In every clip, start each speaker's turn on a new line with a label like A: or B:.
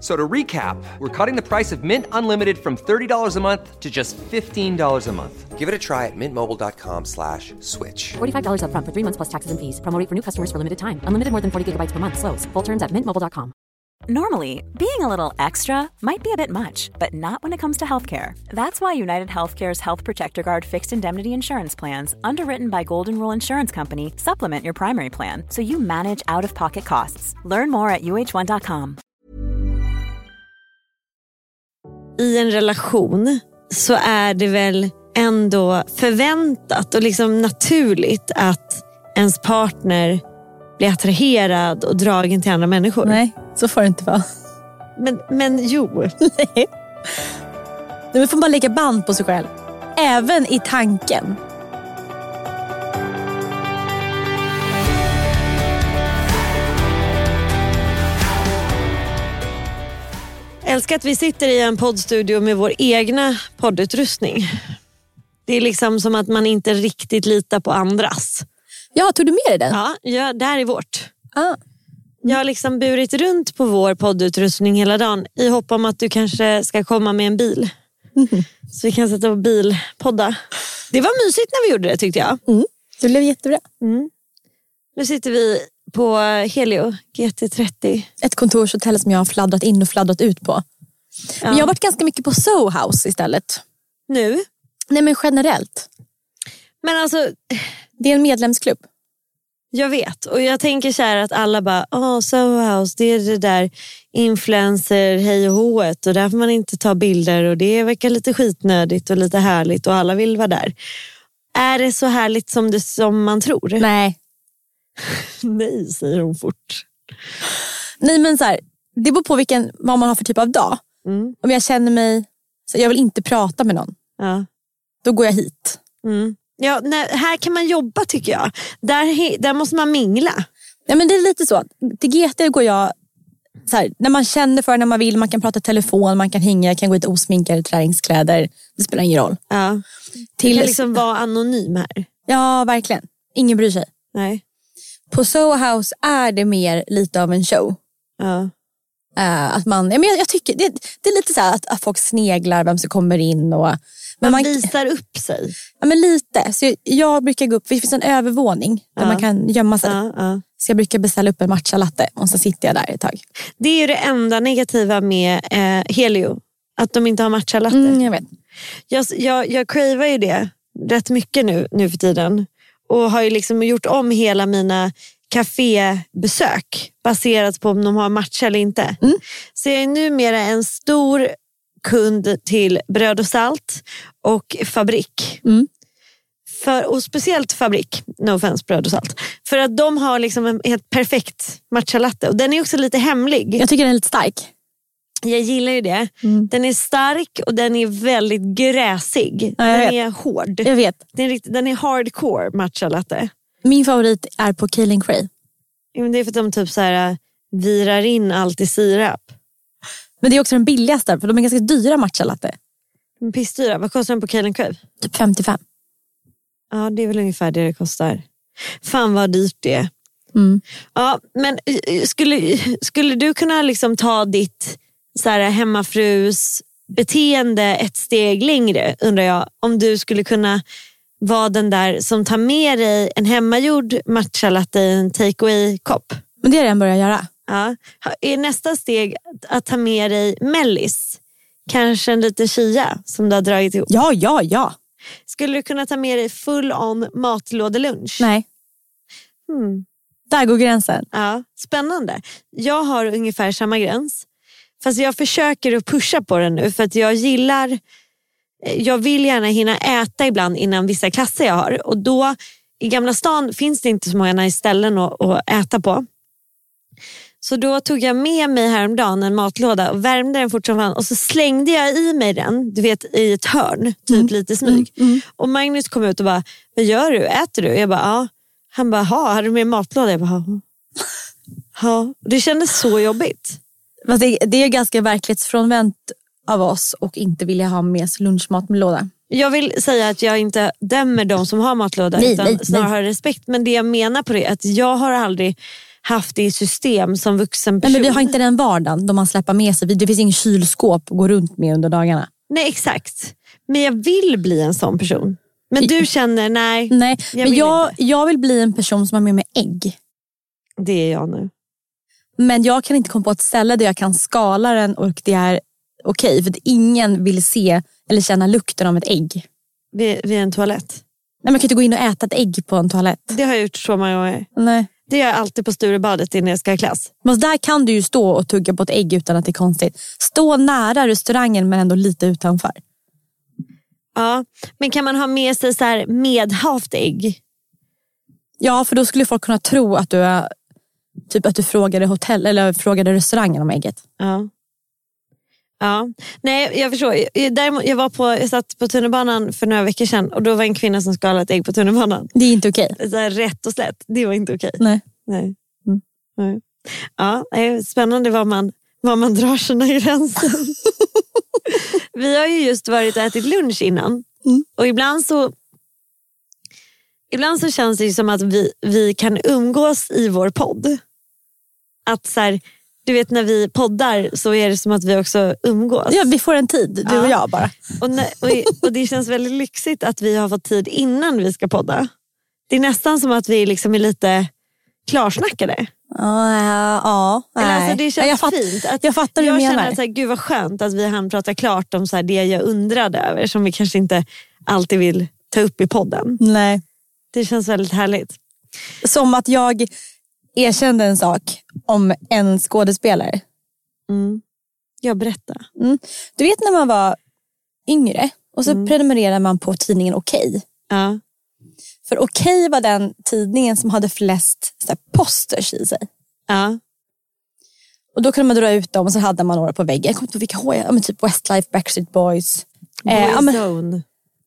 A: So to recap, we're cutting the price of Mint Unlimited from $30 a month to just $15 a month. Give it a try at mintmobile.com slash switch.
B: $45 up front for three months plus taxes and fees. Promo rate for new customers for limited time. Unlimited more than 40 gigabytes per month. Slows. Full terms at mintmobile.com.
C: Normally, being a little extra might be a bit much, but not when it comes to healthcare. That's why United Healthcare's Health Protector Guard fixed indemnity insurance plans, underwritten by Golden Rule Insurance Company, supplement your primary plan so you manage out of pocket costs. Learn more at uh1.com.
D: i en relation så är det väl ändå förväntat och liksom naturligt att ens partner blir attraherad och dragen till andra människor.
E: Nej, så får det inte vara.
D: Men, men jo.
E: Nej. Nej, men får man lägga band på sig själv. Även i tanken.
D: Älskar att vi sitter i en poddstudio med vår egna poddutrustning. Det är liksom som att man inte riktigt litar på andras.
E: Ja, tog du med dig den?
D: Ja, ja det här är vårt.
E: Ah.
D: Jag har liksom burit runt på vår poddutrustning hela dagen i hopp om att du kanske ska komma med en bil. Så vi kan sätta på bilpodda. Det var mysigt när vi gjorde det tyckte jag.
E: Det blev jättebra.
D: Nu sitter vi på Helio GT30.
E: Ett kontorshotell som jag har fladdrat in och fladdrat ut på. Men jag har varit ganska mycket på Soho House istället.
D: Nu.
E: Nej men generellt.
D: Men alltså,
E: Det är en medlemsklubb.
D: jag vet. Och jag tänker så här att alla bara, åh Soho House, det är det där influencer hej och hået och där får man inte ta bilder och det verkar lite skitnödigt och lite härligt och alla vill vara där. Är det så härligt som, det, som man tror?
E: Nej.
D: Nej, säger hon fort.
E: Nej men så här, det beror på vilken, vad man har för typ av dag.
D: Mm.
E: Om jag känner mig, så jag vill inte prata med någon.
D: Ja.
E: Då går jag hit.
D: Mm. Ja, nej, här kan man jobba tycker jag. Där, he- där måste man mingla.
E: Ja, men det är lite så. Till GT går jag så här, när man känner för när man vill. Man kan prata i telefon, man kan hänga, jag kan gå hit osminkad i träningskläder. Det spelar ingen roll.
D: Ja.
E: Till,
D: kan liksom vara anonym här.
E: Ja, verkligen. Ingen bryr sig.
D: Nej.
E: På Soho House är det mer lite av en show.
D: Ja.
E: Eh, att man, ja, men jag, jag tycker, det, det är lite så här att, att folk sneglar vem som kommer in. Och, men
D: Man,
E: man,
D: visar upp sig.
E: ja, men lite. Så jag, jag brukar gå upp, det finns en övervåning där
D: Ja.
E: man kan gömma sig.
D: Ja, ja.
E: Så jag brukar beställa upp en matcha latte och så sitter jag där ett tag.
D: Det är ju det enda negativa med eh, Helio. Att de inte har matchalatte.
E: Mm, jag vet.
D: Jag, jag, jag cravar ju det rätt mycket nu, nu för tiden. Och har ju liksom gjort om hela mina kafébesök baserat på om de har matcha eller inte. Så jag är numera en stor kund till Bröd och Salt och Fabrik.
E: Mm.
D: För, och speciellt Fabrik, no offense Bröd och Salt. För att de har liksom en helt perfekt matcha latte och den är också lite hemlig.
E: Jag tycker den är lite stark.
D: Jag gillar ju det.
E: Mm.
D: Den är stark och den är väldigt gräsig.
E: Ja, jag
D: den
E: vet.
D: är hård.
E: Jag vet.
D: Den är, rikt- den är hardcore matcha latte.
E: Min favorit är på Keeling Cray.
D: Jo, men Det är för att de typ så här, äh, virar in allt i sirap.
E: Men det är också den billigaste för de är ganska dyra matcha latte.
D: De är Pissdyra. Vad kostar den på Kalen Cove?
E: Typ 55.
D: Ja, det är väl ungefär det det kostar. Fan vad dyrt det är.
E: Mm.
D: Ja, men eh, skulle, skulle du kunna liksom ta ditt så här, hemmafrus beteende ett steg längre undrar jag. Om du skulle kunna vara den där som tar med dig en hemmagjord matcha latte i en take away-kopp.
E: Men det har jag redan börjat göra.
D: Ja. Ha- Är nästa steg att, att ta med dig mellis? Kanske en liten chia som du har dragit ihop.
E: Ja, ja, ja.
D: Skulle du kunna ta med dig full on matlådelunch?
E: Nej,
D: Hmm.
E: där går gränsen.
D: Ja, spännande. Jag har ungefär samma gräns. Fast jag försöker att pusha på den nu för att jag gillar... eh, Jag vill gärna hinna äta ibland innan vissa klasser jag har. Och då, I Gamla stan finns det inte så många nice ställen att, att äta på. Så då tog jag med mig häromdagen en matlåda och värmde den fort som fan och så slängde jag i mig den, du vet i ett hörn, typ lite smyg. Och Magnus kom ut och bara, vad gör du? Äter du? Jag bara, ja. Han bara, "Ha, har du med matlåda? Jag bara, "Ja." Ja, det kändes så jobbigt.
E: Fast det, det är ganska verklighetsfrånvänt av oss och inte vilja ha med sig lunchmat med låda.
D: Jag vill säga att jag inte dömer de som har matlåda
E: Nej,
D: utan
E: nej, nej.
D: snarare har respekt. Men det jag menar på det är att jag har aldrig haft det i system som vuxen person.
E: Nej, men vi har inte den vardagen då man släpper med sig. Vi- Det finns ingen kylskåp att gå runt med under dagarna.
D: Nej exakt. Men jag vill bli en sån person. Men du känner, nej,
E: Nej,
D: Jag
E: men
D: vill
E: jag, jag vill bli en person som har med mig ägg.
D: det är jag nu.
E: Men jag kan inte komma på ett ställe där jag kan skala den och det är okej. för att ingen vill se eller känna lukten av ett ägg.
D: Vid, vid en toalett.
E: Nej, man kan inte gå in och äta ett ägg på en toalett.
D: Det har jag gjort så många gånger.
E: Nej.
D: Det gör jag alltid på Sturebadet innan jag ska i klass.
E: Men alltså, där kan du ju stå och tugga på ett ägg utan att det är konstigt. Stå nära restaurangen men ändå lite utanför.
D: Ja. Men kan man ha med sig så här medhavt ägg?
E: Ja, för då skulle folk kunna tro att du, är, typ att du frågade, hotell, eller frågade restaurangen om ägget.
D: Ja. Ja, nej jag förstår. Jag- Däremot, jag, var på, jag satt på tunnelbanan för några veckor sedan och då var en kvinna som skalade ett ägg på tunnelbanan.
E: Det är inte okej.
D: Så här, rätt och slätt, det var inte okej.
E: Nej.
D: Nej.
E: Mm.
D: Nej. Ja, nej, spännande var man, var man drar sina gränser. Vi har ju just varit och ätit lunch innan
E: Mm.
D: och ibland så Ibland så känns det ju som att vi, vi kan umgås i vår podd. Att så här, du vet när vi poddar så är det som att vi också umgås.
E: Ja, vi får en tid, du
D: Ja.
E: och jag bara.
D: Och, när, och, och Det känns väldigt lyxigt att vi har fått tid innan vi ska podda. Det är nästan som att vi liksom är lite klarsnackade.
E: Ja, ja,
D: Eller
E: nej.
D: alltså det
E: Ja, jag
D: känns
E: fatt-
D: fint. Att
E: Jag fattar hur
D: jag
E: du menar.
D: känner att så här, gud vad skönt att vi hann prata klart om så här, det jag undrade över som vi kanske inte alltid vill ta upp i podden.
E: Nej.
D: Det känns väldigt härligt.
E: Som att jag erkände en sak om en skådespelare.
D: Mm. Jag berätta.
E: Mm. Du vet när man var yngre och så
D: Mm.
E: prenumererade man på tidningen Okej.
D: Ja.
E: För Okej var den tidningen som hade flest så här, posters i sig.
D: Ja.
E: Och Då kunde man dra ut dem och så hade man några på väggen. Jag kommer inte ihåg vilka hår jag... Ja, men typ Westlife, Backstreet Boys. Eh, ja, men,
D: Boyzone.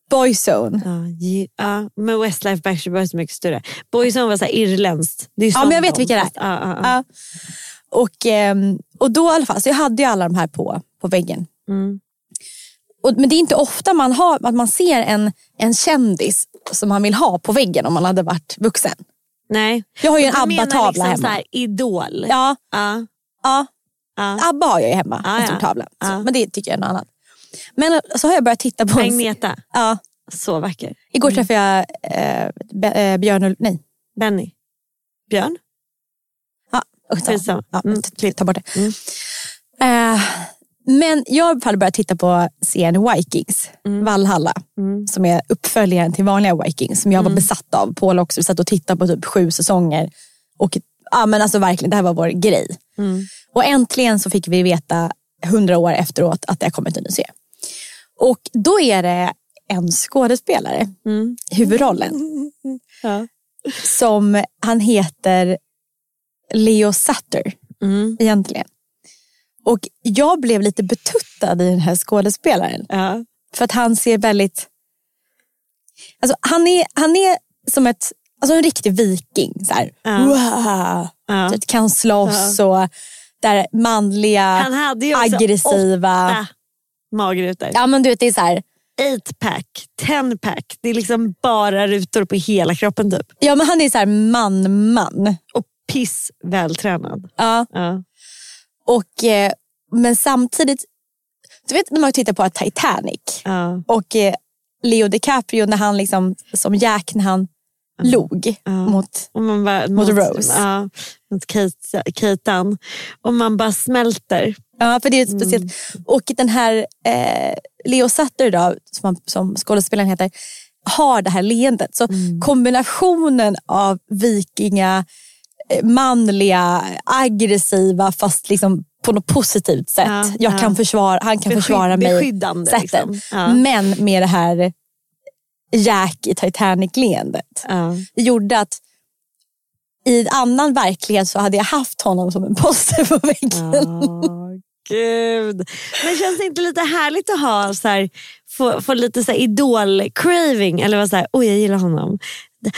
E: Boyzone.
D: Ja, ge- ja, men Westlife Backstreet Boys är mycket större. Boyzone var så här irländskt. Det är
E: Ja,
D: som
E: men jag vet
D: dem.
E: vilka det är.
D: Ja, ja, ja.
E: Ja. Och, ehm, och då i alla fall, så jag hade ju alla de här på, på väggen.
D: Mm.
E: Och, men det är inte ofta man, har, att man ser en, en kändis som man vill ha på väggen om man hade varit vuxen.
D: Nej.
E: Jag har ju en
D: Du menar
E: ABBA-tavla
D: liksom
E: hemma.
D: Så här, idol.
E: Ja,
D: Ja,
E: ja,
D: ja.
E: ABBA har jag ju hemma.
D: Ja,
E: en stor
D: ja.
E: tavla. Så,
D: Ja.
E: Men det tycker jag är något annat. Men eh, så har jag börjat titta på... en-
D: Agneta,
E: Ja,
D: så vacker.
E: igår träffade jag eh, Be- eh, Björn Ul- Nej.
D: Benny. Björn?
E: Ja, usch, ta-
D: Skitsamma.
E: ja,
D: Mm.
E: ta- ta bort det. Eh, men jag har i alla fall börjat titta på serien Vikings,
D: Mm.
E: Valhalla, som är uppföljaren till vanliga Vikings som jag
D: Mm.
E: var besatt av. Paul också, vi satt och tittade på typ sju säsonger. Och, ja, men alltså verkligen, det här var vår grej.
D: Mm.
E: Och äntligen så fick vi veta hundra år efteråt att det har kommit en ny serie. Och då är det en skådespelare,
D: Mm.
E: i huvudrollen,
D: Ja.
E: som han heter Leo Sutter
D: Mm.
E: egentligen. Och jag blev lite betuttad i den här skådespelaren.
D: Ja.
E: För att han ser väldigt... Alltså, han, är, han är som ett, alltså en riktig viking. Så här.
D: Ja.
E: Wow!
D: Ja.
E: Så att kan slåss och där manliga,
D: Han hade ju också
E: aggressiva.
D: åtta magrutor.
E: Ja, men du vet, det är så här,
D: Eight pack, ten pack. Det är liksom bara rutor på hela kroppen typ.
E: ja, men han är så här man-man.
D: Och piss vältränad.
E: Ja.
D: Ja.
E: Och, eh, men samtidigt, du vet när man tittar på Titanic
D: Ja.
E: och eh, Leo DiCaprio när han liksom, som Jack när han log mot...
D: Och man bara,
E: Mot Rose.
D: Ja, mot Kate- Keitan. Och man bara smälter.
E: Ja, för det är
D: Mm.
E: ett speciellt. Och den här eh, Leo Sutter då, som, han, som skådespelaren heter, har det här leendet. Så
D: Mm.
E: kombinationen av vikinga, eh, manliga, aggressiva fast liksom på något positivt sätt.
D: Ja,
E: Jag
D: ja.
E: Kan försvara, han kan
D: Beskydd-
E: försvara mig.
D: beskyddande,
E: sättet.
D: liksom. Ja.
E: Men med det här Jack i Titanic-leendet.
D: Ja.
E: Det gjorde att i en annan verklighet så hade jag haft honom som en poster på väggen.
D: Åh, Gud. Men känns det inte lite härligt att ha så här, få, få lite så här idol-craving? Eller vara så här, oj jag gillar honom.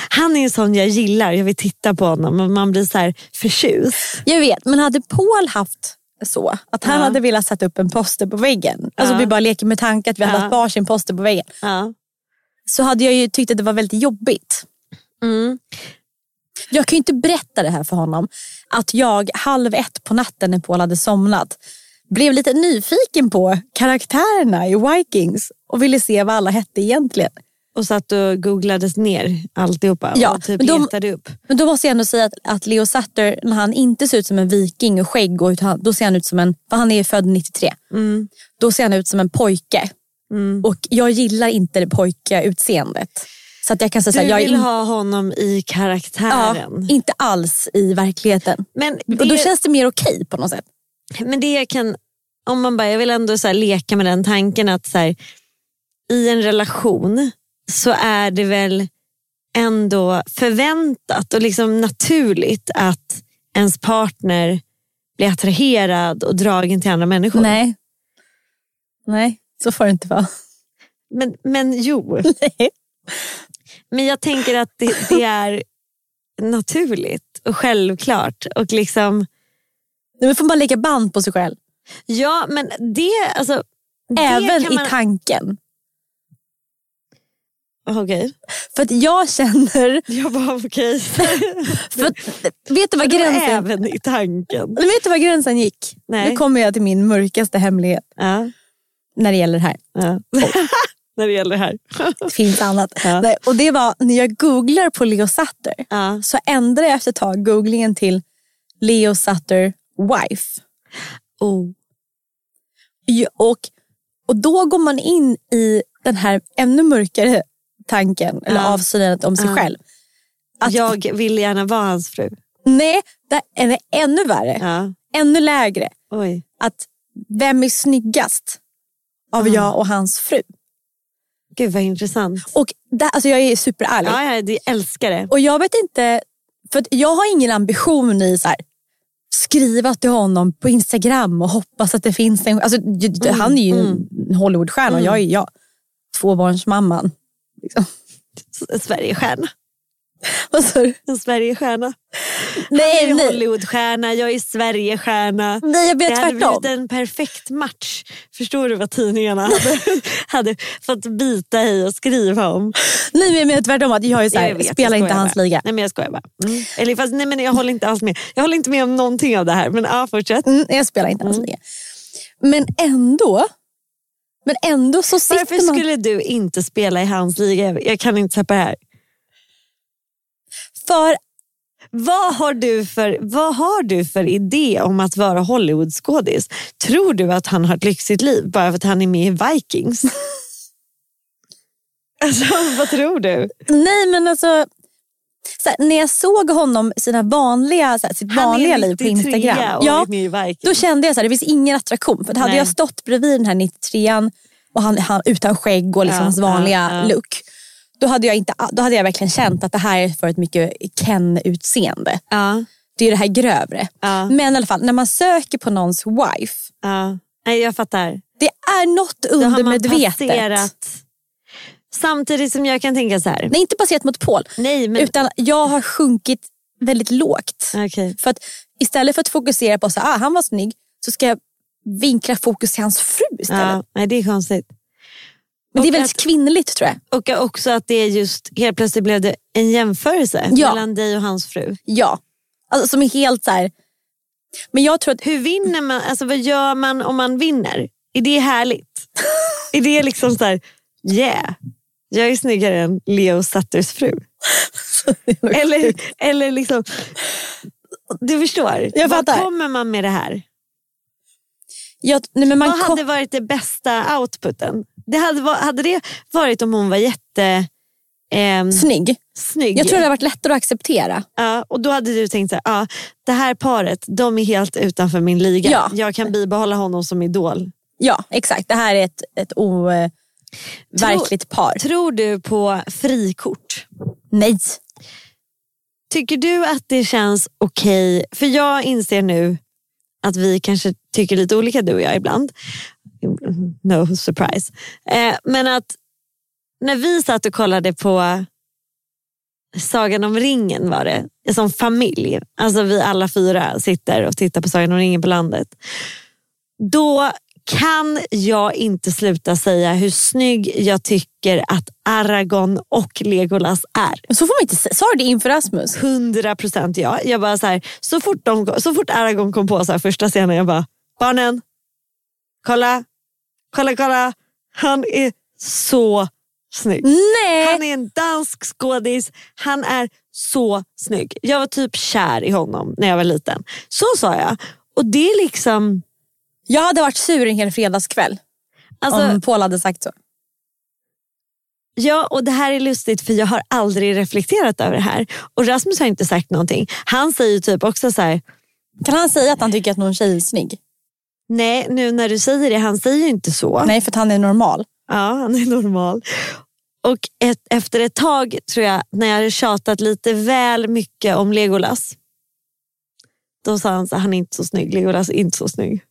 D: Han är en sån jag gillar, jag vill titta på honom och man blir så här förtjust.
E: Jag vet, men hade Paul haft så, att han
D: Ja.
E: hade velat sätta upp en poster på väggen. Alltså
D: Ja.
E: vi bara leker med tanken att vi hade
D: Ja.
E: haft varsin poster på väggen.
D: Ja.
E: Så hade jag ju tyckt att det var väldigt jobbigt.
D: Mm.
E: Jag kan ju inte berätta det här för honom. Att jag halv ett på natten när Paul hade somnat blev lite nyfiken på karaktärerna i Vikings och ville se vad alla hette egentligen.
D: Och satt och googlades ner alltihopa
E: Ja,
D: och typ
E: men de-
D: letade upp.
E: Men då måste jag ändå säga att, att Leo Satter, när han inte ser ut som en viking och skägg, och utan, då ser han ut som en, för han är ju född 93,
D: Mm.
E: då ser han ut som en pojke. Och jag gillar inte det pojkeutseendet. Så att jag kan säga så
D: Du
E: här, jag är
D: vill
E: in,
D: ha honom i
E: ja,
D: karaktären.
E: inte alls i verkligheten.
D: Men
E: Och då
D: det,
E: känns det mer okej på något sätt.
D: men det jag kan, om man bara, jag vill ändå så här leka med den tanken att så här, i en relation så är det väl ändå förväntat och liksom naturligt att ens partner blir attraherad och dragen till andra människor.
E: Nej. Nej, så får det inte vara.
D: Men, men jo. Men jag tänker att det, det är naturligt och självklart. Och liksom,
E: Nej, men får man lägga band på sig själv?
D: ja, men det, alltså, det
E: Även
D: kan
E: i
D: man-
E: tanken.
D: Okej.
E: För att jag känner...
D: Jag bara okej.
E: För att, vet du vad gränsen
D: Även i tanken.
E: Men vet du var gränsen gick?
D: Nej.
E: Nu kommer jag till min mörkaste hemlighet
D: Ja,
E: när det gäller det här.
D: ja. När det gäller det här.
E: Det finns annat.
D: Ja.
E: Nej, och det var när jag googlar på Leo Satter
D: Ja.
E: så ändrade jag efter ett tag googlingen till Leo Satter wife.
D: Oh.
E: Ju- Och, och då går man in i den här ännu mörkare tanken eller
D: Ja.
E: avslöjandet om sig
D: Ja.
E: själv. Att,
D: Jag vill gärna vara hans fru.
E: Nej, det är ännu värre.
D: Ja.
E: Ännu lägre.
D: Oj.
E: Att vem är snyggast av
D: Mm.
E: jag och hans fru?
D: Gud vad intressant.
E: Och där, alltså jag är superärlig.
D: Ja, ja, jag älskar det.
E: Och jag vet inte, för att jag har ingen ambition i så här, skriva till honom på Instagram och hoppas att det finns en... Alltså, ju-
D: Mm,
E: han är ju en Hollywoodstjärna och jag är jag, tvåbarnsmamman. Liksom.
D: S- Sverigestjärna.
E: Vad sa du?
D: En Sverigestjärna.
E: Nej,
D: Jag är
E: nej,
D: Hollywoodstjärna, jag är Sverigestjärna.
E: nej, jag
D: Det
E: vet
D: hade
E: tvärtom.
D: blivit en perfekt match. Förstår du vad tidningarna hade, hade fått bita i och skriva om?
E: Nej, men jag menar tvärtom. Att jag är så här,
D: Jag vet, jag
E: spelar inte
D: skojar
E: hans
D: bara.
E: liga.
D: Nej men jag skojar bara. Mm. Eller fast, nej, men jag håller inte alls med. Jag håller inte med om någonting av det här. Men ja, fortsätt.
E: Mm, jag spelar inte hans liga. Men ändå, men ändå så sitter
D: Varför
E: man...
D: skulle du inte spela i hans liga? Jag- Jag kan inte släppa det här.
E: För
D: Vad har du för, vad har du för idé om att vara Hollywoodskådis? Tror du att han har ett lyxigt liv bara för att han är med i Vikings? alltså, vad tror du?
E: Nej men alltså, så här, när jag såg honom sina vanliga, så här, sitt vanliga liv på
D: 93
E: Instagram.
D: och
E: Ja,
D: är med i Vikings.
E: då kände jag att det finns ingen attraktion. För att hade
D: Nej.
E: jag stått bredvid den här 93an och han, han utan skägg och liksom
D: Ja,
E: hans
D: ja,
E: vanliga
D: ja.
E: look. Då hade, jag inte, då hade jag verkligen känt att det här är för ett mycket Ken-utseende.
D: ja,
E: Det är det här grövre.
D: Ja.
E: Men i alla fall, när man söker på någons wife.
D: ja. Nej, jag fattar.
E: Det är något
D: Då har man
E: undermedvetet.
D: passerat. Samtidigt som jag kan tänka så här.
E: Nej, inte passerat mot Paul.
D: Nej, men...
E: Utan jag har sjunkit väldigt lågt.
D: Okej.
E: För att istället för att fokusera på att ah, han var snygg så ska jag vinkla fokus till hans fru istället.
D: Ja, nej, det är konstigt.
E: Men det är
D: och
E: väldigt kvinnligt tror jag.
D: Och också att det är just, helt plötsligt blev det en jämförelse
E: Ja.
D: mellan dig och hans fru.
E: Ja. Alltså, som är helt så här. Men jag tror att
D: Hur vinner man? Alltså vad gör man om man vinner? Är det härligt? är det liksom så här, yeah, jag är snyggare än Leo Satters fru? eller, eller liksom, du förstår.
E: Jag
D: Vad
E: fattar.
D: kommer man med det här?
E: jag, nej, men man
D: Vad
E: kom,
D: hade varit det bästa outputen? Det hade, va- hade det varit om hon var jätte... ehm,
E: snygg.
D: snygg.
E: Jag tror det har varit lättare att acceptera.
D: Ja, och då hade du tänkt så här, ja, det här paret, de är helt utanför min liga.
E: Ja.
D: Jag kan bibehålla honom som idol.
E: Ja, exakt. Det här är ett, ett overkligt par.
D: Tror du på frikort?
E: Nej.
D: Tycker du att det känns okej? För jag inser nu att vi kanske tycker lite olika du och jag ibland. No surprise. Eh, men att när vi satt och kollade på Sagan om ringen var det, som familj. Alltså vi alla fyra sitter och tittar på Sagan om ringen på landet. Då kan jag inte sluta säga hur snygg jag tycker att Aragorn och Legolas är.
E: Men så får man inte säga. Sa du det inför Rasmus?
D: 100 procent ja. Jag bara så, här, så, fort de, så fort Aragorn kom på så här första scenen, jag bara, barnen, kolla, kolla, kolla. Han är så snygg.
E: Nej!
D: Han är en dansk skådis. Han är så snygg. Jag var typ kär i honom när jag var liten. Så sa jag. Och det är liksom...
E: Jag hade varit sur en hel fredagskväll
D: Alltså,
E: om Paul hade sagt så.
D: Ja, och det här är lustigt för jag har aldrig reflekterat över det här. Och Rasmus har inte sagt någonting. Han säger ju typ också så här,
E: Kan han säga att han tycker att någon tjej är snygg?
D: nej nu när du säger det, han säger ju inte så.
E: Nej, för att han är normal.
D: Ja, han är normal. Och ett, efter ett tag tror jag, när jag hade tjatat lite väl mycket om Legolas. Då sa han så här, han är inte så snygg, Legolas är inte så snygg.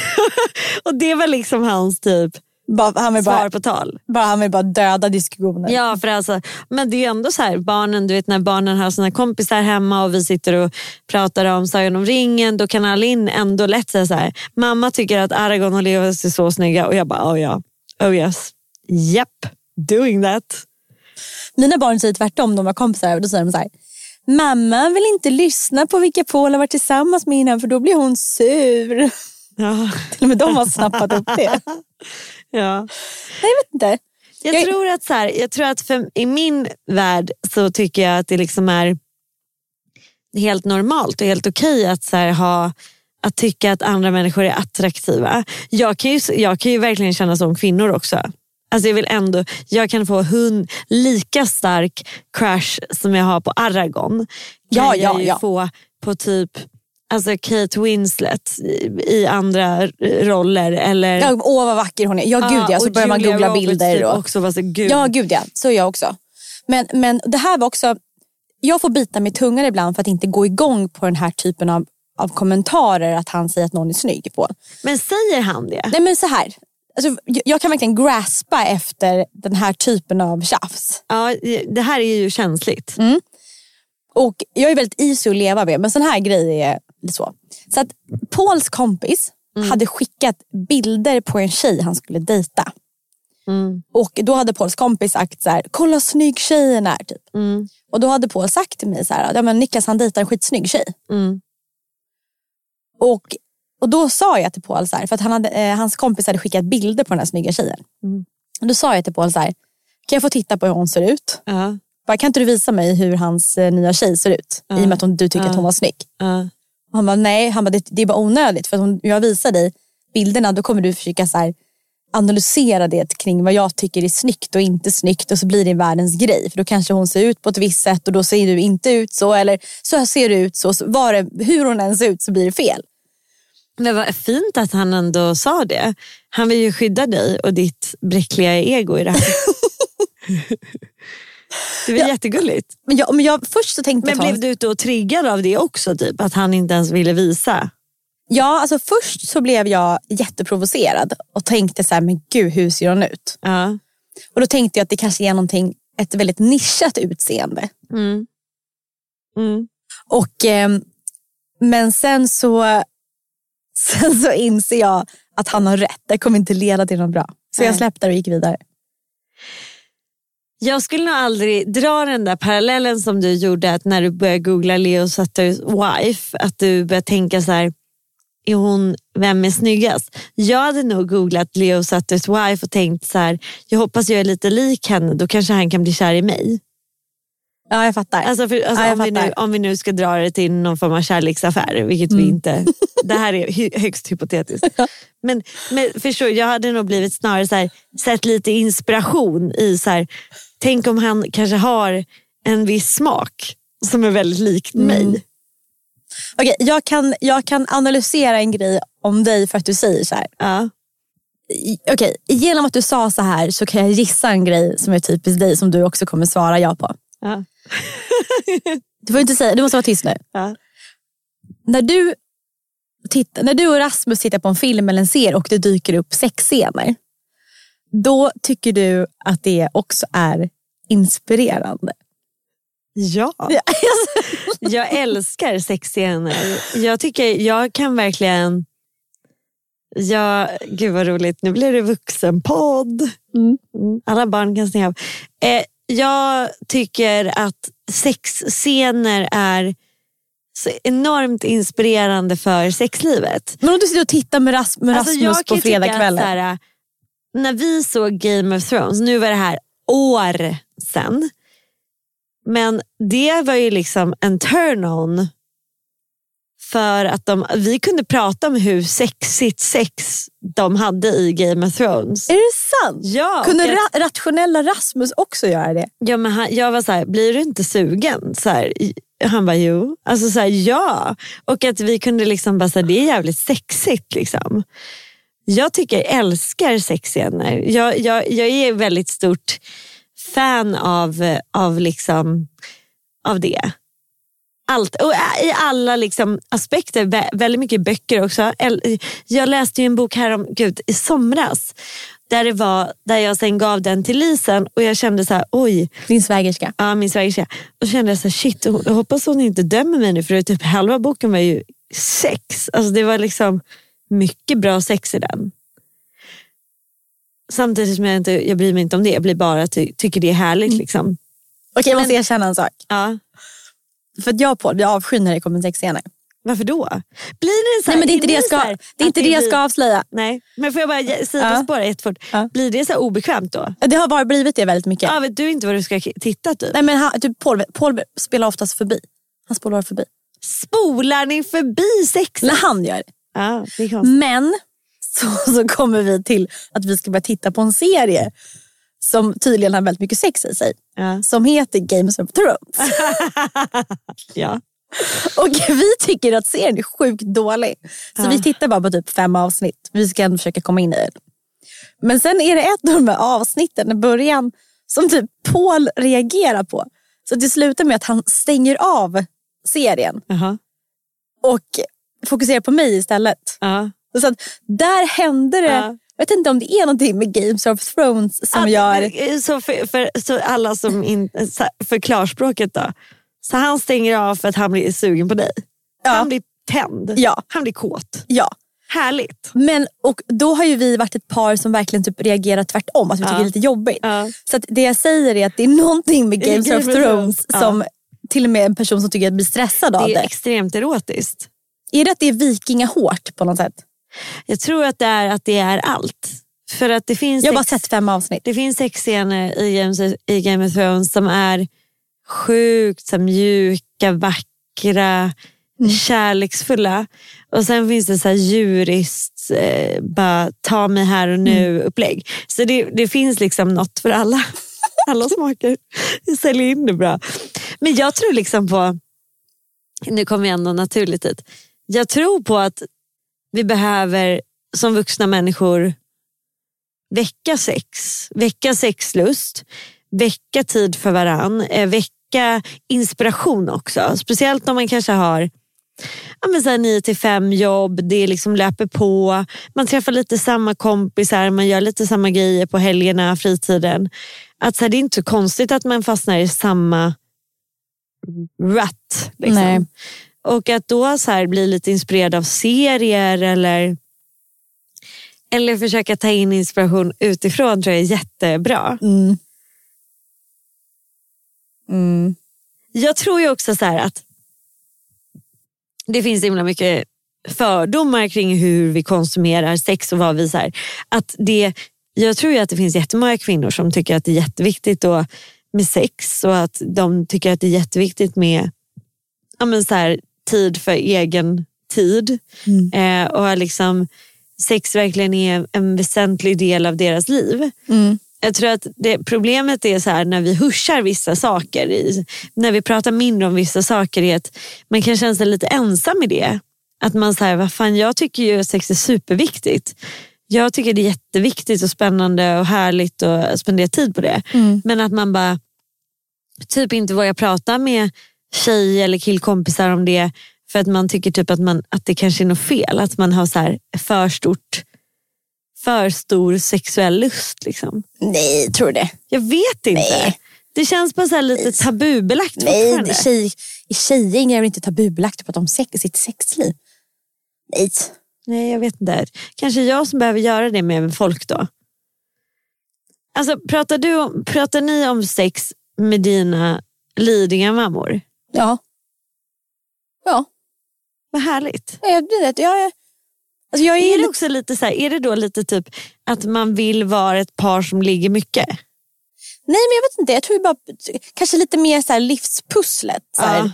D: och det var liksom hans typ
E: Bara, han, vill
D: svar
E: bara,
D: på tal.
E: bara, han vill bara döda diskussioner.
D: Ja, för alltså, men det är ju ändå så här, barnen, du vet när barnen har sina kompisar hemma och vi sitter och pratar om Sagan om ringen, då kan Alin ändå lätt säga så här, mamma tycker att Aragorn och Legolas är så snygga och jag bara, oh ja, oh yes, yep, doing that.
E: Mina barn säger tvärtom, de har kompisar. Då säger de så här. Mamma vill inte lyssna på vilka Paul har varit tillsammans med innan för då blir hon sur.
D: Ja,
E: Till och med de har snappat upp det.
D: ja.
E: Nej, jag vet inte.
D: Jag,
E: Jag-
D: tror att, så här, jag tror att för, i min värld så tycker jag att det liksom är helt normalt och helt okej att, så här, ha, att tycka att andra människor är attraktiva. Jag kan ju, jag kan ju verkligen känna som kvinnor också. Alltså jag, vill ändå, jag kan få hund, lika stark crush som jag har på Aragorn. Kan
E: Ja, ja,
D: jag ju
E: ja.
D: få på typ alltså Kate Winslet i, i andra eh, roller. Eller, Ah,
E: Ja, åh vad vacker hon är. Ja gud ja,
D: och
E: så börjar man
D: Julia
E: googla
D: Roberts
E: bilder.
D: Typ
E: Och,
D: också, var så, gud.
E: ja gud ja, så är jag också. Men, men det här var också, jag får bita mig i tungan ibland för att inte gå igång på den här typen av, av kommentarer att han säger att någon är snygg på.
D: Men säger han det?
E: Nej men så här. Alltså, jag- jag kan verkligen graspa efter den här typen av tjafs.
D: Ja, det här är ju känsligt.
E: Och jag är väldigt easy att leva med men sån här grej är lite så. Så att Pauls kompis hade skickat bilder på en tjej han skulle dejta. Och då hade Pauls kompis sagt så här, kolla snygg tjejen är. Typ. Och då hade Paul sagt till mig så här, ja, men Niklas han dejtar en skitsnygg tjej.
D: Mm.
E: Och, och då sa jag till Paul, så här, för att han hade, eh, hans kompis hade skickat bilder på den här snygga tjejen. Och då sa jag till Paul, så här, kan jag få titta på hur hon ser ut?
D: Ja,
E: Bara, kan inte du visa mig hur hans eh, nya tjej ser ut? I och med att hon, du tycker att hon var snygg.
D: ja.
E: Och han bara, nej, han bara, det, det är bara onödigt. För att om jag visar dig bilderna då kommer du försöka så här, analysera det kring vad jag tycker är snyggt och inte snyggt. Och så blir det världens grej. För då kanske hon ser ut på ett visst sätt och då ser du inte ut så. Eller så här ser du ut så. så var det, hur hon än ser ut så blir det fel.
D: Men vad fint att han ändå sa det. Han vill ju skydda dig och ditt bräckliga ego i det här. Det var jättegulligt.
E: Men jag, men jag, först så tänkte
D: Men
E: jag ta-
D: blev du då triggad av det också? Typ, att han inte ens ville visa?
E: Ja, alltså först så blev jag jätteprovocerad och tänkte så här, men gud hur ser hon ut?
D: Ja.
E: Och då tänkte jag att det kanske är någonting, ett väldigt nischat utseende.
D: Mm. Mm.
E: Och, ehm, men sen så, sen så inser jag att han har rätt, det kommer inte leda till något bra. Så jag
D: Nej.
E: släppte det och gick vidare.
D: Jag skulle nog aldrig dra den där parallellen som du gjorde att när du började googla Leo Sutters wife, att du började tänka så här, är hon, vem är snyggast? Jag hade nog googlat Leo Sutters wife och tänkt så här, jag hoppas jag är lite lik henne, då kanske han kan bli kär i mig.
E: Ja, jag fattar.
D: Alltså för, alltså
E: Ja, jag
D: om, vi nu,
E: fattar. Mm.
D: om vi nu ska dra det till någon form av kärleksaffär, vilket vi inte... Det här är hy- högst hypotetiskt. Men, men förstår, du, jag hade nog blivit snarare så här, sett lite inspiration i så här, tänk om han kanske har en viss smak som är väldigt lik
E: Mm.
D: mig.
E: Okej, jag, kan, jag kan analysera en grej om dig för att du säger så här.
D: Ja.
E: I- Okej, genom att du sa så här så kan jag gissa en grej som är typiskt dig som du också kommer svara ja på.
D: Ja.
E: Du får inte säga, du måste vara tyst nu.
D: Ja.
E: När du, titt, när du och Rasmus tittar på en film eller en serie och det dyker upp sexscener. Då tycker du att det också är inspirerande.
D: Ja. jag älskar sexscener. Jag tycker jag kan verkligen... Ja, gud vad roligt. Nu blir det vuxenpodd. Mm. Alla barn kan stänga av. Eh, jag tycker att sexscener är så enormt inspirerande för sexlivet.
E: Men om du sitter och tittar med, Ras- med Rasmus
D: Alltså, jag kan
E: på
D: ju tycka att
E: fredagskvällen.
D: så här, äh, När vi såg Game of Thrones, nu var det här år sen. Men det var ju liksom en turn-on. För att de, vi kunde prata om hur sexigt sex de hade i Game of Thrones.
E: Är det sant?
D: Ja,
E: Kunde
D: och att-
E: ra- rationella Rasmus också göra det?
D: Ja, men han, jag var så här, blir du inte sugen? Så här, i- han bara, jo. Alltså så här, ja. Och att vi kunde liksom bara, så här, det är jävligt sexigt. Liksom. Jag tycker, älskar sexscener. Jag, jag, jag är väldigt stort fan av, eh, av, liksom, av det. Allt, och ä- I alla liksom aspekter, vä- väldigt mycket böcker också. Äl- Jag läste ju en bok här om gud, i somras där, det var, där jag sen gav den till Lisen och jag kände så här, oj,
E: Din svägerska.
D: ja, min svägerska. Och så kände jag så här, shit, hon- jag hoppas hon inte dömer mig nu för det är typ halva boken var ju sex. Alltså det var liksom mycket bra sex i den. Samtidigt som jag inte jag bryr mig inte om det, jag blir bara ty- tycker det är härligt.
E: Mm.
D: Liksom.
E: Okej, jag måste erkänna en sak.
D: Ja.
E: För att jag och Paul, vi avskyr när det kommer sexscener.
D: Varför då? Blir det så här,
E: Nej men det är inte det jag ska,
D: så här
E: det är inte
D: att
E: det jag
D: blir-
E: ska avslöja.
D: Nej, men får jag bara ge- sidospåra jättefort.
E: Ja.
D: Blir det så här obekvämt då?
E: Det har bara blivit det väldigt mycket.
D: Ja, vet du inte vad du ska k- titta typ?
E: Nej, men han, typ Paul, Paul spelar oftast förbi. Han spolar förbi.
D: Spolar ni förbi sexet?
E: När han gör det.
D: Ja, det är konstigt.
E: Men så, så kommer vi till att vi ska börja titta på en serie som tydligen har väldigt mycket sex i sig.
D: Mm. Ja.
E: Som heter Games of Thrones.
D: Ja.
E: Och vi tycker att serien är sjukt dålig. Så vi tittar bara på typ fem avsnitt. Vi ska ändå försöka komma in i det. Men sen är det ett av de här avsnitten i början som typ Paul reagerar på. Så det slutar med att han stänger av serien
D: Jaha.
E: och fokuserar på mig istället.
D: Ja.
E: Så att där hände det,
D: Ja.
E: jag vet inte om det är någonting med Games of Thrones som
D: Att- eh,
E: gör...
D: Så för, för så alla som in, så- för klarspråket då. Så han stänger av för att han blir sugen på dig. Han blir tänd.
E: Ja.
D: Han blir kåt.
E: Ja.
D: Härligt.
E: Men, och då har ju vi varit ett par som verkligen typ reagerar tvärtom, att vi tycker det är lite jobbigt.
D: Ja.
E: Så att det jag säger är att det är någonting med
D: är
E: Games
D: Game
E: of
D: of
E: Thrones
D: Thrones, ja.
E: som till och med en person som tycker att blir stressad av
D: Det är
E: det.
D: extremt erotiskt.
E: Är det att det är vikingahårt på något sätt?
D: Jag tror att det är, att det är allt. För att det finns
E: Jag har bara
D: sex-
E: sett fem avsnitt.
D: Det finns sexscener i Games i Game of Thrones som är sjukt så här, mjuka, vackra, kärleksfulla. Och sen finns det så här djuriskt, eh, bara ta mig här och nu-upplägg. Så det, det finns liksom något för alla. Alla smaker. Jag säljer in det bra. Men jag tror liksom på, nu kommer jag ändå naturligt hit. Jag tror på att vi behöver som vuxna människor väcka sex, väcka sexlust, väcka tid för varann, eh, väcka inspiration också. Speciellt om man kanske har ja, men så här 9 till 5 jobb, det liksom löper på, man träffar lite samma kompisar, man gör lite samma grejer på helgerna, fritiden. Att så här, det är inte så konstigt att man fastnar i samma rut.
E: Nej.
D: Liksom. Och att då så här, bli lite inspirerad av serier eller eller försöka ta in inspiration utifrån tror jag är jättebra.
E: Mm.
D: Jag tror ju också så här att det finns himla mycket fördomar kring hur vi konsumerar sex och vad vi så här, att det, Jag tror ju att det finns jättemånga kvinnor som tycker att det är jätteviktigt då med sex och att de tycker att det är jätteviktigt med ja, men så här, tid för egen tid. Eh, och att liksom, sex verkligen är en väsentlig del av deras liv. Jag tror att det, problemet är så här när vi hushar vissa saker, i, när vi pratar mindre om vissa saker, är att man kan känna sig lite ensam i det. Att man säger, vad fan jag tycker ju att sex är superviktigt. Jag tycker det är jätteviktigt och spännande och härligt att spendera tid på det. Men att man bara typ inte vågar prata med tjej eller killkompisar om det för att man tycker typ att, man, att det kanske är något fel. Att man har så här för, stort, för stor sexuell lust. Liksom.
E: Nej, tror du det?
D: Jag vet inte. Det känns bara så här lite tabubelagt
E: Nej,
D: fortfarande.
E: det- tjej, i tjejgäng är det inte tabubelagt att prata om sex, sitt sexliv. Nej.
D: Nej, jag vet inte. Kanske jag som behöver göra det med folk då. Alltså, pratar, du om, pratar ni om sex med dina Lidingö-mammor?
E: Ja. Ja,
D: Vad härligt.
E: jag, jag, jag, är- alltså jag är
D: Är det,
E: lite-
D: också lite så här, är det då lite typ att man vill vara ett par som ligger mycket?
E: Nej men jag vet inte, jag tror bara kanske lite mer så här livspusslet. Så här.
D: Ja.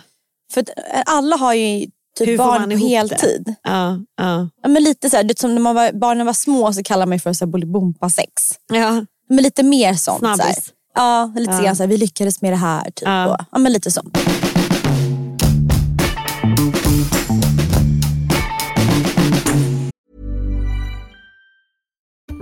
E: För att eh, alla har ju typ
D: Hur får man
E: barn på
D: ihop det?
E: heltid.
D: Ja, ja.
E: Ja, men lite så här, det är som när man var, barnen var små så kallade man ju för så här bolibompa-sex.
D: ja.
E: Men lite mer sånt.
D: Snabbis.
E: Så här. Ja, lite
D: Ja.
E: grann så här, vi lyckades med det här. Typ.
D: Ja.
E: Och, ja, men lite sånt.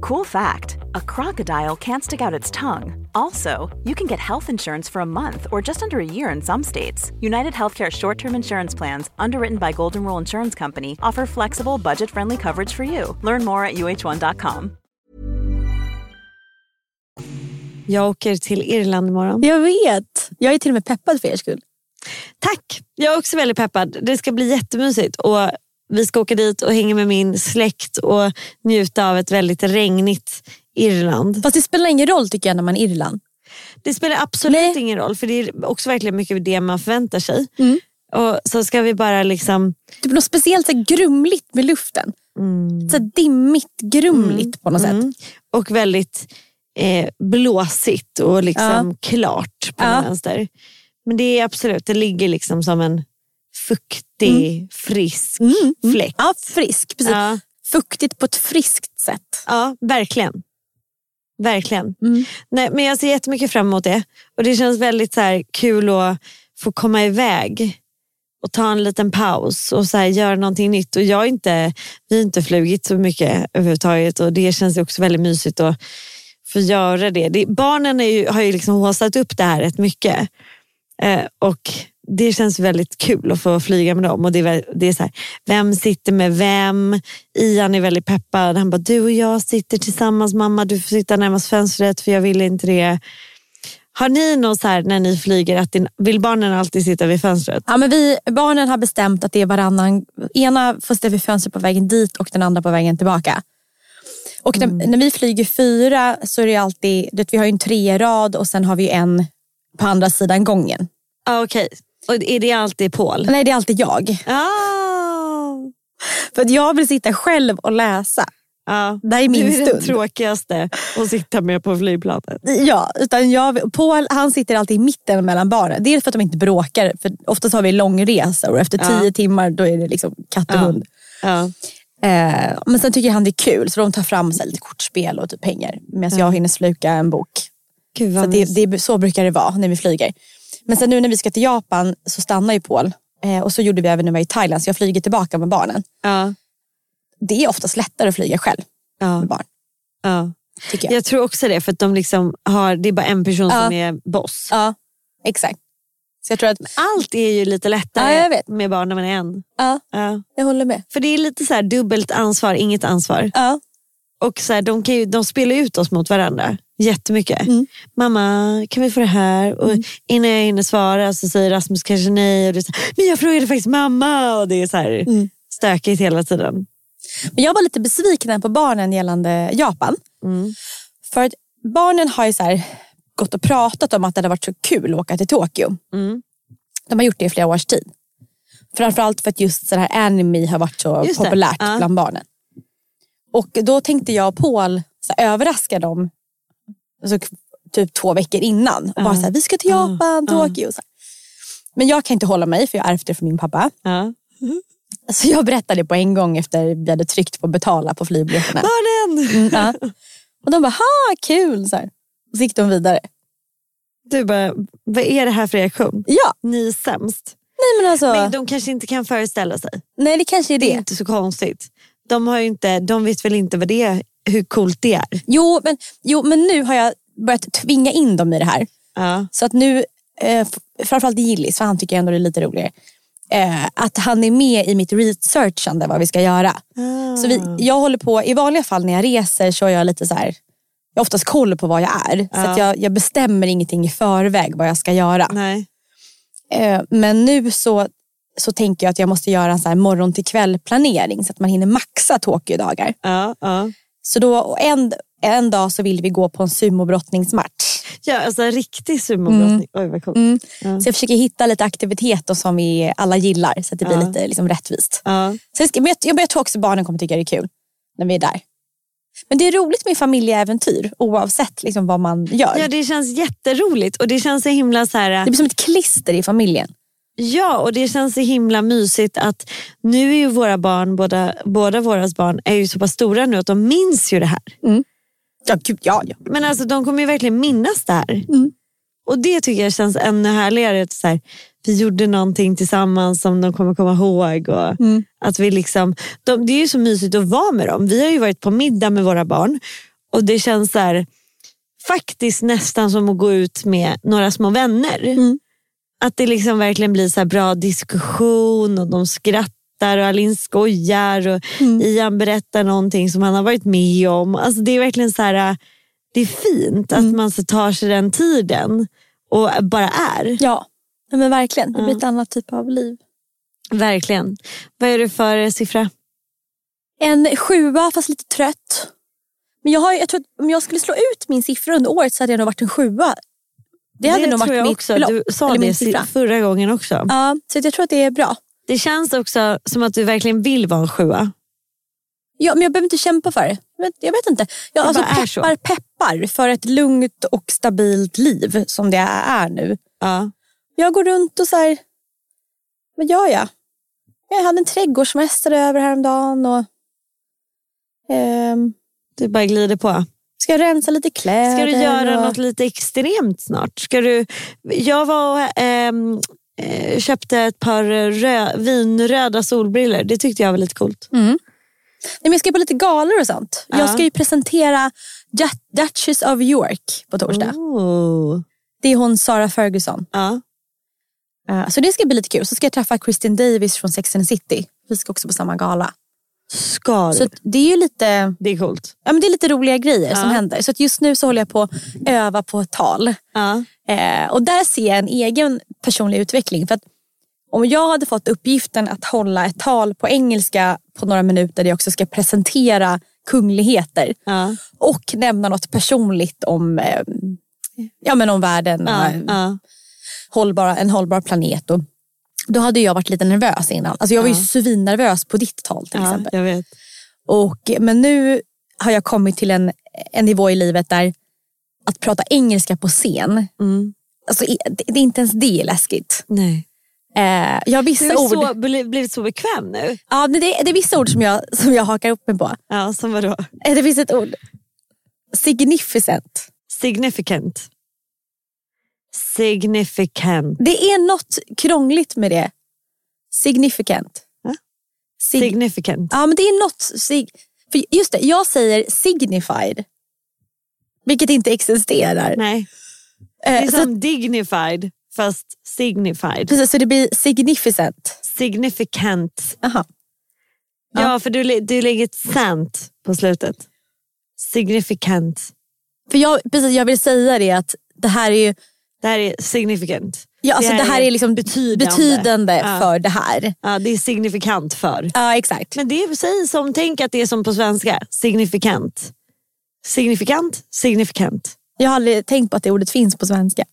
C: Cool fact a crocodile can't stick out its tongue. Also, you can get health insurance for a month or just under a year in some states. United Healthcare short term insurance plans, underwritten by Golden Rule Insurance Company, offer flexible, budget friendly coverage for you. Learn more at uh1.com.
D: Jag åker till Irland imorgon.
E: Jag vet. Jag är till och med peppad för er skull.
D: Tack! Jag är också väldigt peppad. Det ska bli jättemysigt. Och vi ska åka dit och hänga med min släkt och njuta av ett väldigt regnigt Irland.
E: Fast det spelar ingen roll tycker jag när man är i Irland.
D: Det spelar absolut
E: Nej.
D: ingen roll för det är också verkligen mycket det man förväntar sig. Och så ska vi bara liksom...
E: Typ något speciellt så här, grumligt med luften. Så här, dimmigt, grumligt på något sätt.
D: Och väldigt eh, blåsigt och liksom klart på
E: Ja.
D: ja. vänster. Men det är absolut, det ligger liksom som en fuktig, frisk fläkt.
E: Ja, frisk. Precis.
D: Ja.
E: Fuktigt på ett friskt sätt.
D: Ja, verkligen. Verkligen. Nej, men jag ser jättemycket fram emot det. Och Det känns väldigt så här, kul att få komma iväg och ta en liten paus och så här, göra någonting nytt. Och jag är inte, vi har inte flugit så mycket överhuvudtaget och det känns ju också väldigt mysigt att få göra det. det barnen är ju, har ju liksom haussat upp det här rätt mycket. Eh, och det känns väldigt kul att få flyga med dem. Och det är, väl- det är så här, vem sitter med vem? Ian är väldigt peppad. Han bara, du och jag sitter tillsammans mamma. Du får sitta närmast fönstret för jag vill inte det. Har ni något så här när ni flyger, att din, vill barnen alltid sitta vid fönstret?
E: Ja, men vi, barnen har bestämt att det är varannan. Ena får sitta vid fönstret på vägen dit och den andra på vägen tillbaka. Och när,
D: Mm.
E: när vi flyger fyra så är det alltid, du vet, vi har ju en trerad och sen har vi ju en på andra sidan gången.
D: Ah, Okej, och är det alltid Paul?
E: Nej, det är alltid jag.
D: Ah.
E: För att jag vill sitta själv och läsa.
D: Ja.
E: Det här är
D: Du
E: min
D: är den
E: stund.
D: tråkigaste att sitta med på flygplanet.
E: Ja, utan jag, Paul han sitter alltid i mitten mellan barnen. Dels för att de inte bråkar. För oftast har vi långresa och efter tio timmar då är det liksom katt och hund.
D: Ja.
E: Eh, men sen tycker han det är kul så de tar fram så här, lite kortspel och typ pengar. Medan jag hinner sluka en bok.
D: Gud
E: Så,
D: vad
E: att
D: mysigt.
E: det, det, så brukar det vara när vi flyger. Men sen nu när vi ska till Japan så stannar ju Paul. Eh, och så gjorde vi även när vi var i Thailand så jag flyger tillbaka med barnen.
D: Ja.
E: Det är oftast lättare att flyga själv
D: Ja.
E: med barn.
D: Ja.
E: Tycker jag.
D: Jag tror också det, för att de liksom har, det är bara en person
E: Ja.
D: som är boss.
E: Ja, exakt. Så jag tror att,
D: Allt är ju lite lättare
E: Ja, jag vet.
D: med barn när man är en.
E: ja,
D: Ja.
E: jag håller med.
D: För det är lite så här dubbelt ansvar, inget ansvar.
E: Ja,
D: Och så här, de, kan ju, de spelar ut oss mot varandra jättemycket.
E: Mm.
D: Mamma, kan vi få det här? Och Innan jag hinner svara så säger Rasmus kanske nej. Och det är så här, Men jag frågade faktiskt mamma. Och det är så här
E: Mm.
D: stökigt hela tiden.
E: Men jag var lite besviken på barnen gällande Japan.
D: Mm.
E: För att barnen har ju så här gått och pratat om att det hade varit så kul att åka till Tokyo.
D: Mm.
E: De har gjort det i flera års tid. Framförallt för att just så här anime har varit så
D: Just det,
E: populärt
D: ja.
E: bland barnen. Och då tänkte jag och Paul så här, överraska dem alltså, k- typ två veckor innan. Och bara så här, vi ska till Japan, Tokyo. Så här. Men jag kan inte hålla mig för jag har ärvt det från min pappa.
D: Ja.
E: Så jag berättade på en gång efter vi hade tryckt på betala på flygbiljetterna.
D: Barnen!
E: Mm. Ja. Och de bara, ha kul! Så, här. Och så gick de vidare.
D: Du bara, vad är det här för reaktion?
E: Ja,
D: Ni är sämst.
E: nej men alltså.
D: Men de kanske inte kan föreställa sig.
E: nej det kanske är
D: Det
E: det.
D: är inte så konstigt. De, har ju inte, de vet väl inte vad det är, hur coolt det är.
E: Jo, men, jo, men nu har jag börjat tvinga in dem i det här.
D: Ja.
E: Så att nu, eh, f- framförallt Gillis, för han tycker ändå det är lite roligare. Eh, att han är med i mitt researchande vad vi ska göra.
D: Ah.
E: Så vi, jag håller på, i vanliga fall när jag reser så är jag lite så här, jag har oftast koll på vad jag är. Så att jag, jag bestämmer ingenting i förväg vad jag ska göra.
D: Nej.
E: Eh, men nu så, så tänker jag att jag måste göra en så här morgon till kväll planering så att man hinner maxa Tokyo-dagar.
D: Ja, ja.
E: Så då, och en, en dag så vill vi gå på en sumobrottningsmatch.
D: ja alltså en riktig sumobrottning. Oj vad coolt.
E: Så jag försöker hitta lite aktiviteter som vi alla gillar så att det blir lite liksom, rättvist.
D: Ja.
E: Så jag, ska, men jag, jag, men jag tror också barnen kommer tycka det är kul när vi är där. Men det är roligt med familjeäventyr oavsett liksom, vad man gör.
D: ja,
E: det...
D: det känns jätteroligt och det känns så himla så här...
E: blir som ett klister i familjen.
D: Ja, och det känns så himla mysigt att nu är ju våra barn, båda, båda våra barn är ju så pass stora nu att de minns ju det här.
E: Ja, gud, ja, ja.
D: Men alltså de kommer ju verkligen minnas det här. Och det tycker jag känns ännu härligare. Att så här, vi gjorde någonting tillsammans som de kommer komma ihåg. Och att vi liksom, de, det är ju så mysigt att vara med dem. Vi har ju varit på middag med våra barn och det känns så här, faktiskt nästan som att gå ut med några små vänner.
E: Mm.
D: Att det liksom verkligen blir så här bra diskussion och de skrattar och Alin skojar och
E: Mm.
D: Ian berättar någonting som han har varit med om. Alltså det är verkligen så här, äh, det är fint
E: Mm.
D: att man så tar sig den tiden och bara är.
E: ja. Nej, men verkligen. Det blir ett annat typ av liv.
D: Verkligen. Vad är du för eh, siffra?
E: En sjua fast lite trött. Men jag, har, jag tror att om jag skulle slå ut min siffra under året så hade jag nog varit en sjua. Det hade nog
D: tror
E: varit
D: jag
E: mitt
D: också.
E: belopp.
D: Du sa
E: eller min
D: det si-
E: siffra.
D: förra gången också.
E: Ja, så att jag tror att det är bra.
D: Det känns också som att du verkligen vill vara en sjua.
E: Ja, men jag behöver inte kämpa för det. Men Jag vet inte. Jag,
D: Det
E: alltså,
D: bara är så.
E: peppar, peppar för ett lugnt och stabilt liv som det är nu.
D: Ja.
E: Jag går runt och så här, vad gör jag? Jag hade en trädgårdsmästare över häromdagen och ehm,
D: Du bara glider på.
E: ska jag rensa lite kläder.
D: Ska du göra
E: och...
D: något lite extremt snart? Ska du... Jag var och ehm, eh, köpte ett par rö... vinröda solbriller. Det tyckte jag var lite coolt.
E: Mm. Nej, men jag ska på lite galor och sånt.
D: Ja.
E: Jag ska ju presentera Dut- Duchess of York på torsdag.
D: Oh.
E: Det är hon Sara Ferguson.
D: Ja.
E: Eh, Så det ska bli lite kul. Så ska jag träffa Kristin Davis från Sex and the City. Vi ska också på samma gala.
D: Ska
E: Så
D: du?
E: att det är ju lite,
D: Det är coolt.
E: ja, men det är lite roliga grejer som
D: Ja.
E: händer. Så att just nu så håller jag på att öva på ett tal.
D: Ja.
E: Eh, och där ser jag en egen personlig utveckling. För att om jag hade fått uppgiften att hålla ett tal på engelska på några minuter där jag också ska presentera kungligheter
D: Ja.
E: och nämna något personligt om, eh, ja, men om världen och
D: Ja.
E: eh,
D: Ja.
E: hållbara, en hållbar planet. Och då hade jag varit lite nervös innan. Alltså jag var ju svinnervös på ditt tal till
D: Ja,
E: exempel.
D: jag vet.
E: Och, men nu har jag kommit till en, en nivå i livet där att prata engelska på scen,
D: Mm.
E: alltså, i- det, det är inte ens det är läskigt.
D: Nej.
E: Eh, jag har
D: Du
E: vissa
D: har
E: ord,
D: så, bli- blivit så bekväm nu.
E: ja, men det, det är vissa ord som jag, som jag hakar upp mig på.
D: Ja, som vadå?
E: Eh, Det finns ett ord, significent.
D: Significant. Significant.
E: Det är något krångligt med det. Significant.
D: Va?
E: Sig-
D: Significant.
E: Ja, men det är något... sig- För just det, jag säger signified. Vilket inte existerar.
D: Nej,
E: Eh,
D: det är
E: så, att-
D: som dignified fast signified.
E: precis, så det blir significant.
D: Significant.
E: Aha.
D: Ja, för du, lä- du lägger ett sant på slutet. Significant.
E: För jag, precis, jag vill säga det att det här är ju...
D: Det här är significant.
E: Ja, alltså, det här är liksom betydande,
D: Ja.
E: för det här.
D: Ja, det är signifikant för.
E: Ja, exakt.
D: Men det är säg som, tänk att det är som på svenska. Signifikant. Signifikant, signifikant.
E: Jag har aldrig tänkt på att det ordet finns på svenska.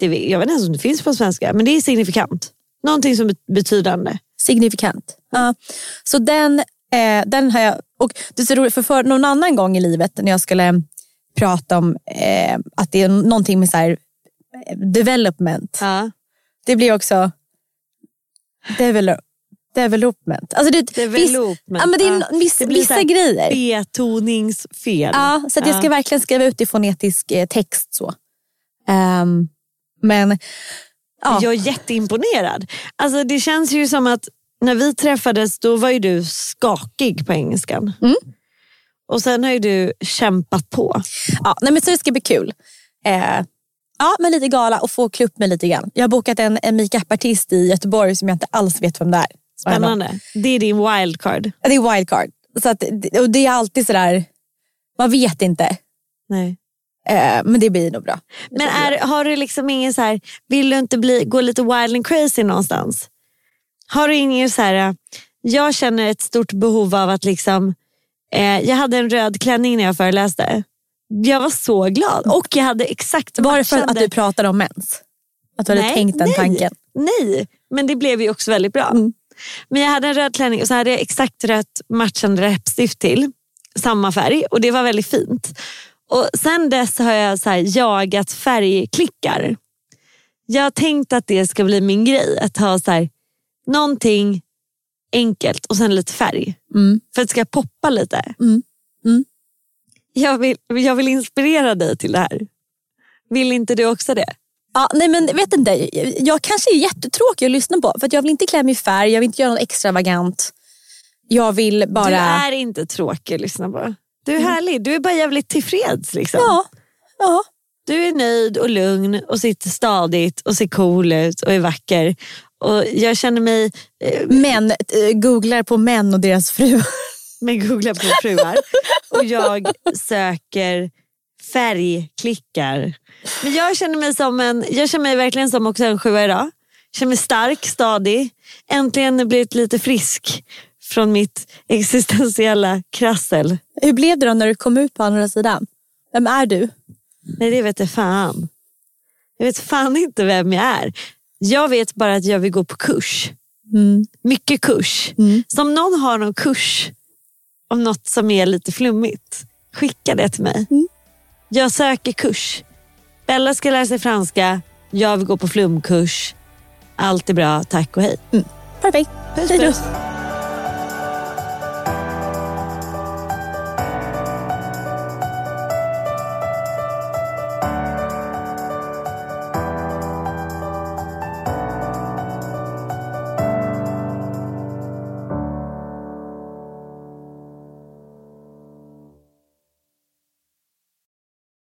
D: Det, vet- jag vet inte ens om det finns på svenska, men det är signifikant. Någonting som är betydande.
E: Signifikant. Ja. Så den, eh, den har jag... Och det är så roligt, för, för någon annan gång i livet när jag skulle prata om eh, att det är någonting med så här, eh, development.
D: Ja.
E: Det blir också develop, development. Alltså det,
D: Development.
E: Viss, ja, men det är
D: Ja.
E: no- viss,
D: Det blir så
E: vissa
D: här
E: grejer.
D: Betoningsfel.
E: Ja, så att jag ska verkligen skriva ut i fonetisk eh, text. så. Ehm, men ja,
D: Jag är jätteimponerad. Alltså, det känns ju som att när vi träffades då var ju du skakig på engelskan. Och sen har ju du kämpat på.
E: Mm. ja, nej, men så det ska bli kul. Eh, ja, men lite gala och få klubb med lite grann. Jag har bokat en, en makeup-artist i Göteborg som jag inte alls vet vem det är. Så jag bara,
D: Spännande. Det är din wildcard.
E: Ja, Det är wildcard. Så att, och det är alltid sådär, man vet inte.
D: Nej.
E: Eh, men det blir nog bra.
D: Men är, har du liksom ingen så här, vill du inte bli, gå lite wild and crazy någonstans? Har du ingen så här, jag känner ett stort behov av att liksom, eh, jag hade en röd klänning när jag föreläste. Jag var så glad och jag hade exakt
E: Var det för att
D: matchande-
E: du pratade om mens? Att du hade tänkt den
D: nej,
E: tanken? Mm.
D: Nej, men det blev ju också väldigt bra. Men jag hade en röd klänning och så hade jag exakt rätt matchande läppstift till. Samma färg och det var väldigt fint. Och sen dess har jag så här jagat färgklickar. Jag har tänkt att det ska bli min grej. Att ha så här, någonting enkelt och sen lite färg.
E: Mm.
D: För att det ska poppa lite. Jag, vill, jag vill inspirera dig till det här. Vill inte du också det?
E: Ja, nej men vet inte, jag kanske är jättetråkig att lyssna på. För att jag vill inte klä mig i färg, jag vill inte göra något extravagant. Jag vill bara...
D: Du är inte tråkig att lyssna på. Du är härlig. Du är bara jävligt tillfreds. Liksom.
E: Ja, ja.
D: Du är nöjd och lugn och sitter stadigt och ser cool ut och är vacker. Och jag känner mig, eh,
E: Män, eh, googlar på män och deras fruar.
D: med googla på fruar, och jag söker färgklickar. Men jag känner mig som en, jag känner mig verkligen som också en sjua idag. Jag känner mig stark, stadig. Äntligen blivit lite frisk från mitt existentiella krassel.
E: Hur blev det då när du kom ut på andra sidan? Vem är du?
D: Nej, det vet jag fan. Jag vet fan inte vem jag är. Jag vet bara att jag vill gå på kurs. Mycket kurs. Så om någon har någon kurs om något som är lite flummigt, skicka det till mig. Jag söker kurs. Bella ska lära sig franska. Jag vill gå på flumkurs. Allt är bra, tack och hej.
E: Perfekt.
D: Puss,
E: Hej då.
D: puss.